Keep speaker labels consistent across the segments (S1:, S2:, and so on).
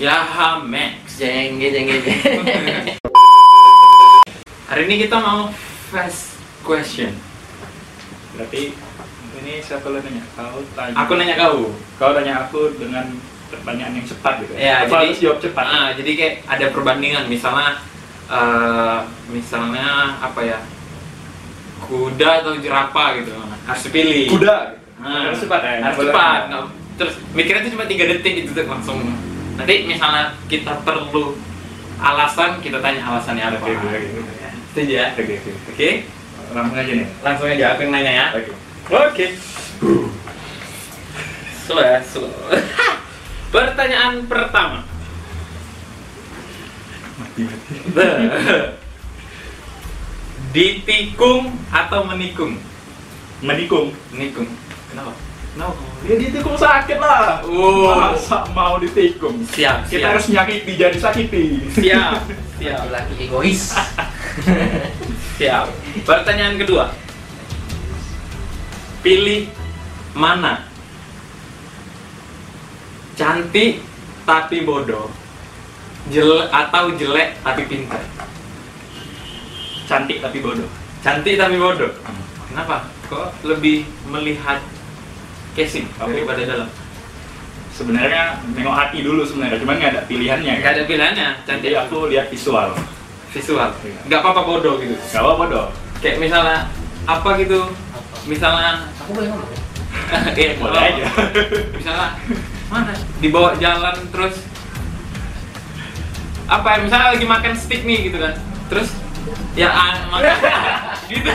S1: Yaha Max.
S2: Jengge jengge jengge.
S1: Hari ini kita mau fast question.
S3: Berarti ini siapa lo nanya? Kau tanya.
S1: Aku nanya kau.
S3: Kau tanya aku dengan pertanyaan yang cepat gitu.
S1: Ya,
S3: Aku
S1: jadi-
S3: harus jawab cepat.
S1: Ah, jadi kayak ada perbandingan misalnya eh, misalnya apa ya? Kuda atau jerapah gitu. Harus pilih.
S3: Kuda.
S1: Ah,
S3: Harus cepat ya.
S1: Harus
S3: Boleh.
S1: cepat. Nggak- Terus mikirnya tuh cuma tiga detik gitu tuh langsung. Nanti misalnya kita perlu alasan, kita tanya alasannya apa.
S3: Oke, oke, oke.
S1: Setuju ya?
S3: Oke, oke.
S1: Oke,
S3: Langsung aja nih.
S1: langsung aja aku yang nanya ya.
S3: Oke.
S1: Oke. Slow ya, slow. Pertanyaan pertama.
S3: Mati, mati.
S1: Ditikung atau menikung?
S3: Menikung.
S1: Menikung. Kenapa? Kenapa?
S3: Ya ditikung sakit lah.
S1: Wow.
S3: Masa mau ditikung?
S1: Oh. Siap,
S3: Kita
S1: siap.
S3: harus nyakiti jadi sakiti.
S1: Siap, siap,
S2: Laki-laki egois.
S1: siap. Pertanyaan kedua. Pilih mana? Cantik tapi bodoh. Jel atau jelek tapi pintar.
S3: Cantik tapi bodoh.
S1: Cantik tapi bodoh. Kenapa? Kok lebih melihat casing
S3: Aku-
S1: daripada dalam?
S3: Sebenarnya nengok hati dulu sebenarnya, cuman nggak ada pilihannya. kan?
S1: Gak ada pilihannya, cantik
S3: Jadi aku lihat visual.
S1: visual.
S3: Iya.
S1: Gak apa-apa bodoh gitu.
S3: Gak apa bodoh.
S1: Kayak misalnya apa gitu? Misalnya
S2: Aku boleh ngomong. ya?
S1: iya,
S3: Boleh
S1: kalau-
S3: aja.
S1: Misalnya mana? Dibawa jalan terus apa ya misalnya lagi makan steak nih gitu kan. Terus ya ah, makan gitu.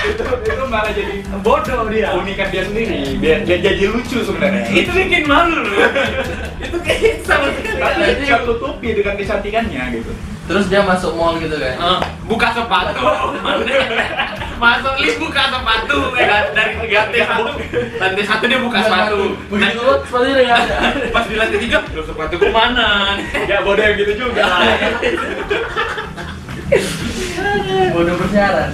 S3: itu, itu malah jadi bodoh dia. Unikan dia sendiri. Biar dia jadi lucu sebenarnya.
S1: Itu bikin malu loh. Itu kayak sama
S3: Tapi
S1: sekali.
S3: dia tutupi dengan kecantikannya gitu.
S2: Terus dia masuk mall gitu kan.
S1: Eh, buka sepatu masuk lift buka sepatu ya kan? dari lantai satu lantai satu dia buka sepatu
S2: Begitu
S1: Nah,
S2: lu sepatu dia nggak ada.
S1: pas di lantai tiga "Loh, sepatu kemana
S3: Ya bodoh yang gitu juga.
S2: Bodoh bersiaran.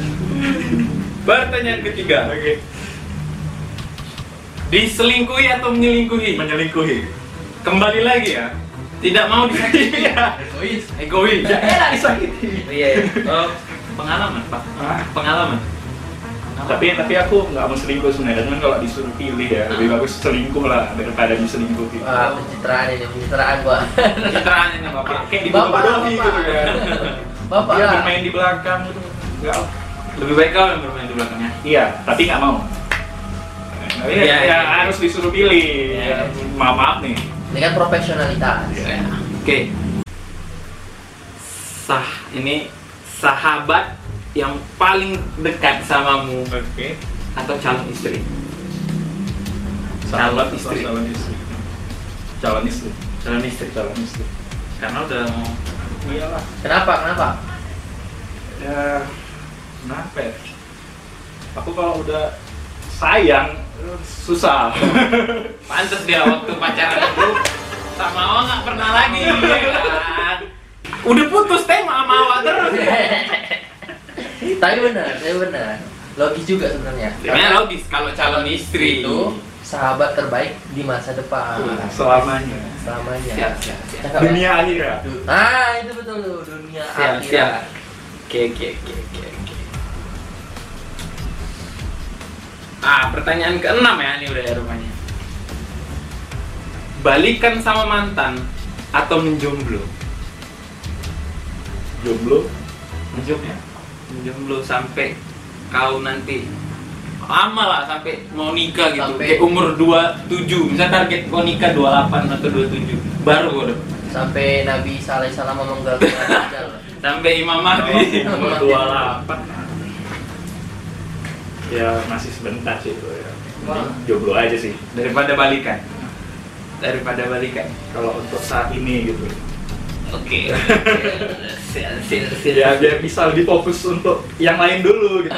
S1: pertanyaan ketiga
S3: Oke.
S1: diselingkuhi atau menyelingkuhi
S3: Menyelingkuhi.
S1: kembali lagi ya tidak mau disakiti
S2: Egois.
S1: egois
S3: Ya enak disakiti.
S1: iya Eh, pengalaman pak
S3: Hah?
S1: pengalaman
S3: Tapi tapi aku nggak mau selingkuh sebenarnya. Cuman kalau disuruh pilih ya lebih bagus selingkuh lah daripada diselingkuhi.
S2: Wah, Ah, pencitraan ini, pencitraan gua.
S1: pencitraan ini bapak
S3: Kayak dibodoh-bodohi
S2: Bapak,
S3: gitu kan.
S2: Bapak
S3: Dia
S1: Iya,
S2: lah.
S3: bermain di belakang gitu. Nggak
S1: lebih baik kau yang bermain di belakangnya
S3: Iya, tapi nggak mau. Nah, iya,
S1: Iya,
S3: ya,
S1: iya.
S3: harus disuruh pilih.
S1: Iya.
S3: Maaf, maaf nih.
S2: Ini kan profesionalitas.
S1: Ya, Oke. Sah ini sahabat yang paling dekat samamu
S3: Oke.
S1: atau calon istri.
S3: Calon
S1: Calon
S3: istri.
S1: istri.
S3: Calon istri. Calon istri.
S1: Calon istri.
S3: Calon istri. Oh,
S1: Karena udah mau
S3: Iyalah.
S2: Kenapa? Kenapa?
S3: Ya, kenapa ya? Aku kalau udah sayang susah.
S1: pantas dia waktu pacaran dulu sama Awa nggak pernah lagi. ya kan? Udah putus tema sama Awa terus.
S2: tapi benar, tapi benar. Logis juga sebenarnya.
S1: Sebenarnya logis kalau calon istri
S2: Itu sahabat terbaik di masa depan.
S3: Selamanya.
S2: Selamanya.
S1: Iya. Siap, siap, siap.
S2: Cakep, ya?
S3: Dunia akhirat.
S2: Ah, itu betul tuh dunia
S1: Siap,
S2: akhirat.
S1: siap. Oke, oke, oke, oke, oke. Ah, pertanyaan keenam ya ini udah ya rumahnya. Balikan sama mantan atau menjomblo?
S3: Jomblo.
S1: Menjomblo. Menjomblo sampai kau nanti lama lah sampai mau nikah gitu.
S2: Sampai-
S1: Kayak umur 27, misal target kau nikah 28 atau 27. Baru kau udah.
S2: Sampai Nabi Saleh Salam mengganggu Dajjal.
S1: Sampai Imam
S3: Oh,
S1: Mahdi.
S3: Nomor 28. Ya masih sebentar sih itu ya.
S2: Wah.
S3: Jomblo aja sih.
S1: Daripada balikan. Daripada balikan.
S3: kalau untuk saat ini gitu
S1: Oke. Siap, siap, siap.
S3: ya biar bisa lebih fokus untuk yang lain dulu gitu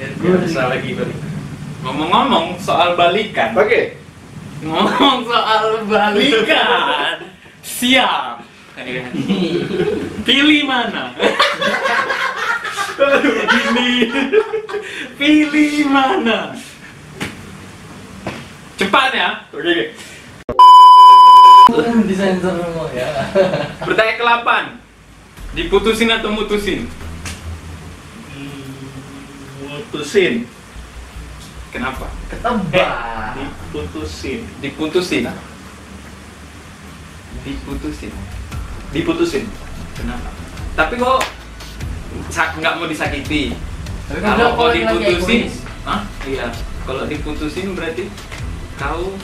S1: Iya.
S3: biar bisa lagi balik
S1: Ngomong-ngomong soal balikan.
S3: oke
S1: Ngomong soal balikan. Siap. Pilih mana?
S3: ini
S1: Pilih mana? Cepat ya.
S3: oke oke
S2: Disensor
S1: Bertanya ke 8 Diputusin atau mutusin?
S3: Putusin.
S1: Kenapa?
S3: Eh,
S2: ketebak
S3: diputusin.
S1: Diputusin Diputusin
S3: Diputusin.
S1: Kenapa? Tapi kok sak- nggak mau disakiti
S2: Tapi
S1: Kalau
S2: kan bilang
S1: kau
S2: kalau lagi
S1: diputusin
S2: egois.
S1: Hah? Iya Kalau diputusin berarti kau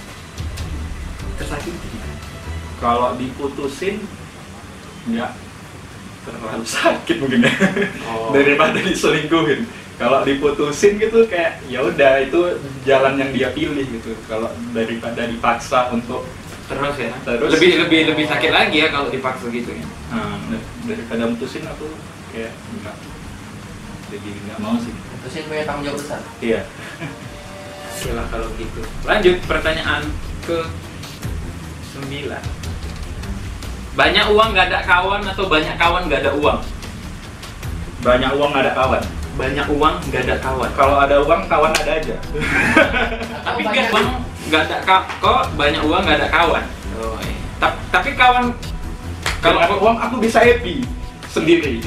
S1: tersakiti
S3: Kalau diputusin nggak terlalu sakit mungkin ya.
S1: Oh.
S3: Daripada diselingkuhin. Kalau diputusin gitu kayak ya udah itu jalan yang dia pilih gitu. Kalau daripada dipaksa untuk
S1: Terus ya?
S3: Terus.
S1: Lebih, lebih, lebih sakit lagi ya kalau dipaksa gitu ya
S3: Nah, dar- daripada mutusin aku kayak enggak jadi nggak mau sih
S2: putusin punya tanggung jawab besar
S3: iya
S1: Silah kalau gitu. Lanjut pertanyaan ke 9. Banyak uang nggak ada kawan atau banyak kawan nggak ada uang?
S3: banyak uang nggak ada kawan
S1: Banyak uang nggak ada kawan.
S3: kalau ada uang kawan ada aja
S1: Tapi kan bang nggak ada ka kok banyak uang nggak ada kawan. Oh, iya. Ta- tapi kawan kalau
S3: kalau ada uang aku bisa happy sendiri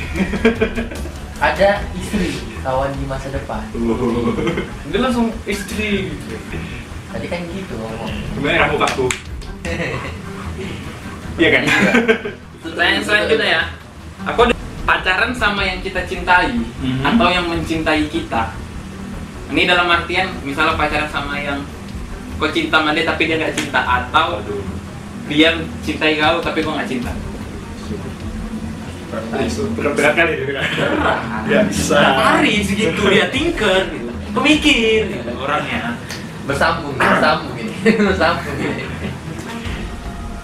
S2: ada istri kawan di masa depan
S1: dia langsung istri. gitu.
S2: tadi kan gitu ngomong
S3: gimana kamu kaku iya kan
S1: Pertanyaan selanjutnya ya. Aku ada- pacaran sama yang kita cintai
S3: Mhm.
S1: atau yang mencintai kita. Ini dalam artian misalnya pacaran sama yang kau cinta sama dia tapi dia nggak cinta atau
S3: waduh
S1: dia cintai kau tapi kau nggak cinta.
S3: berat kali ini. ya bisa
S1: Hari segitu dia tinker, gitu. pemikir gitu, orangnya.
S2: bersambung bersambung ini bersambung ini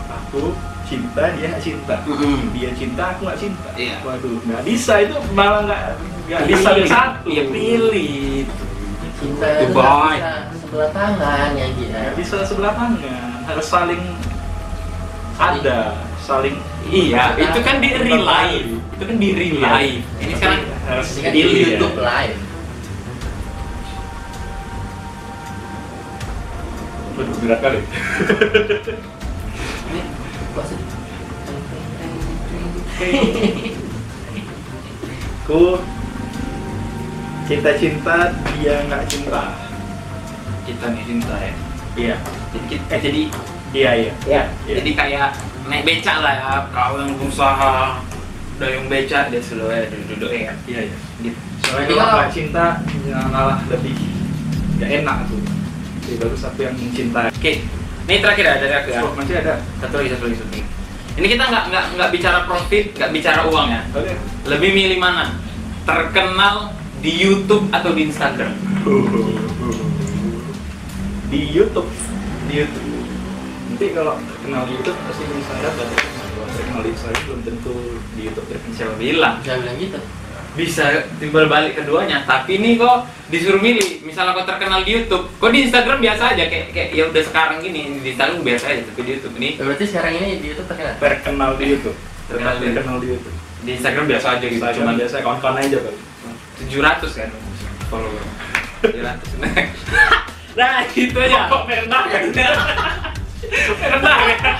S3: aku cinta dia nggak cinta
S1: Mm-mm.
S3: dia cinta aku nggak cinta
S1: Mm-hmm. Iya.
S3: waduh nggak bisa itu malah nggak nggak bisa
S1: Pilih.
S3: bersatu
S1: Ya pilih.
S2: cinta
S1: Goodbye.
S2: tetap bisa sebelah tangan ya gitu
S3: nggak bisa sebelah tangan harus saling ada saling
S1: Iya, itu kan di real life. Itu kan di real life. Ini sekarang
S3: harus
S2: ini kan di
S1: Jadi,
S3: pilih ya.
S2: YouTube live
S3: Waduh, berat kali
S2: ini kok sedih?
S3: aku cinta-cinta dia nggak cinta
S1: kita nih cinta ya.
S3: iya
S1: Jadi, kita- eh, jadi
S3: iya iya
S1: Ya,
S3: Iya.
S1: jadi kayak naik becak lah ya, kau yang berusaha, udah yang becak dia selalu ya duduk-duduk ya.
S3: iya iya
S1: Gitu.
S3: soalnya
S2: Jadi
S3: kalau
S2: kalau-
S3: nggak cinta ya malah lebih nggak enak tuh jadi bagus aku yang mencintai
S1: Oke, ini terakhir ya dari aku ya.
S3: Oh, masih ada
S1: Satu lagi, satu lagi, satu lagi. Ini kita nggak nggak nggak bicara profit, nggak bicara uang ya.
S3: Oke.
S1: Lebih milih mana? Terkenal di YouTube atau di Instagram?
S3: di YouTube di YouTube nanti kalau kenal di YouTube pasti di Instagram dan kalau terkenal di Instagram belum tentu di YouTube terkenal
S1: Siapa bilang?
S2: jangan bilang gitu
S1: Bisa timbal balik keduanya. Tapi ini kok disuruh milih. Misalnya kau terkenal di YouTube, kok di Instagram biasa aja kayak kayak ya udah sekarang gini di Instagram biasa aja, tapi di YouTube ini
S2: berarti sekarang ini di YouTube terkenal
S3: terkenal di YouTube
S1: Terkenal di-
S3: terkenal di YouTube
S1: di Instagram biasa aja gitu.
S3: Instagram
S1: Cuman
S3: biasa kawan-kawan aja kali
S1: 700 kan follower 700 nah gitu aja
S3: Kok merendah ya?
S1: rendah ya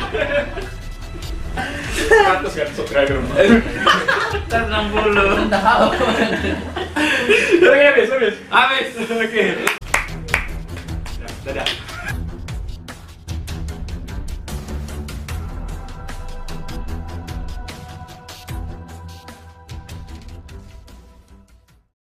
S3: 100 kan subscriber
S2: belum
S1: 160
S2: tahu
S3: oke habis habis
S1: habis
S3: oke Nah, dadah